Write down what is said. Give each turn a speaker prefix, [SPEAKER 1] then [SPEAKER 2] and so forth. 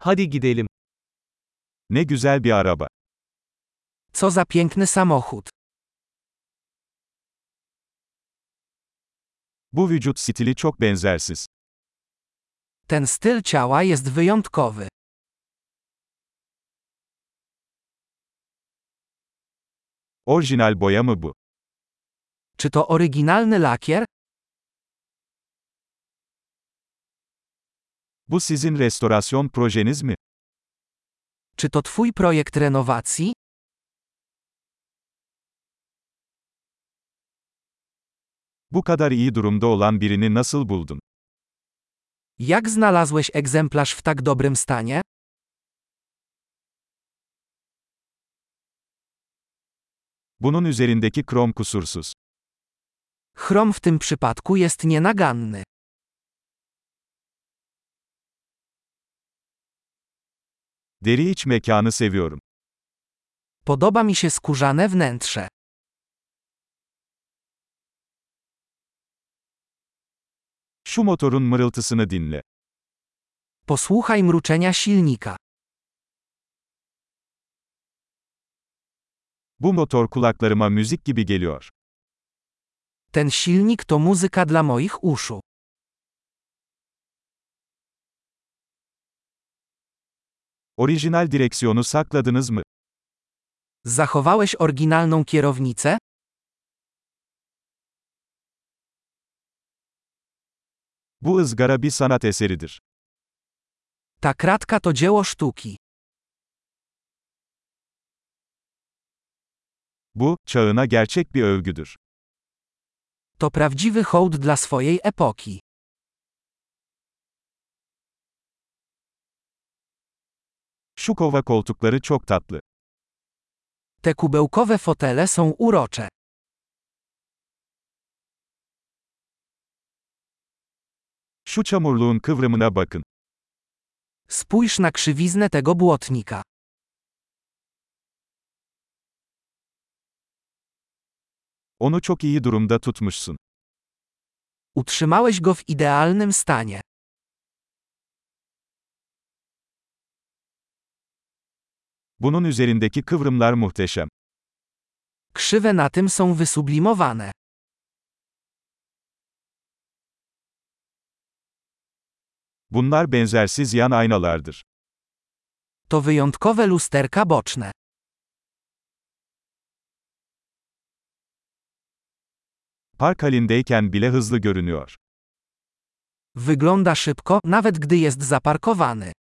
[SPEAKER 1] Hadi gidelim. Ne güzel bir araba.
[SPEAKER 2] Co za piękny samochód.
[SPEAKER 1] Bu vücut stili çok benzersiz.
[SPEAKER 2] Ten styl ciała jest wyjątkowy.
[SPEAKER 1] Orijinal boya mı bu?
[SPEAKER 2] Czy to oryginalny lakier?
[SPEAKER 1] Bu sizin restorasyon projeniz mi?
[SPEAKER 2] Czy to Twój projekt renowacji?
[SPEAKER 1] Bu kadar iyi durumda olan birini nasıl buldun?
[SPEAKER 2] Jak znalazłeś egzemplarz w tak dobrym stanie?
[SPEAKER 1] Bunun üzerindeki krom kusursuz.
[SPEAKER 2] Chrom w tym przypadku jest nienaganny.
[SPEAKER 1] Deri iç mekanı seviyorum.
[SPEAKER 2] Podoba mi się skórzane wnętrze.
[SPEAKER 1] Şu motorun mırıltısını dinle.
[SPEAKER 2] Posłuchaj mruczenia silnika.
[SPEAKER 1] Bu motor kulaklarıma müzik gibi geliyor.
[SPEAKER 2] Ten silnik to muzyka dla moich uszu.
[SPEAKER 1] Orijinal direksiyonu sakladınız mı?
[SPEAKER 2] Zachowałeş oryginalną kierownicę?
[SPEAKER 1] Bu ızgara bir sanat eseridir.
[SPEAKER 2] Ta kratka to dzieło sztuki.
[SPEAKER 1] Bu, çağına gerçek bir övgüdür.
[SPEAKER 2] To prawdziwy hołd dla swojej epoki.
[SPEAKER 1] Şu kova koltukları çok tatlı.
[SPEAKER 2] Te kubełkowe fotele są urocze.
[SPEAKER 1] Şu çamurluğun kıvrımına bakın.
[SPEAKER 2] Spójrz na krzywiznę tego błotnika.
[SPEAKER 1] Onu çok iyi durumda tutmuşsun.
[SPEAKER 2] Utrzymałeś go w idealnym stanie.
[SPEAKER 1] Bunun üzerindeki kıvrımlar muhteşem.
[SPEAKER 2] Krzywe na tym są wysublimowane.
[SPEAKER 1] Bunlar benzersiz yan aynalardır.
[SPEAKER 2] To wyjątkowe lusterka boczne.
[SPEAKER 1] Park halindeyken bile hızlı görünüyor.
[SPEAKER 2] Wygląda szybko, nawet gdy jest zaparkowany.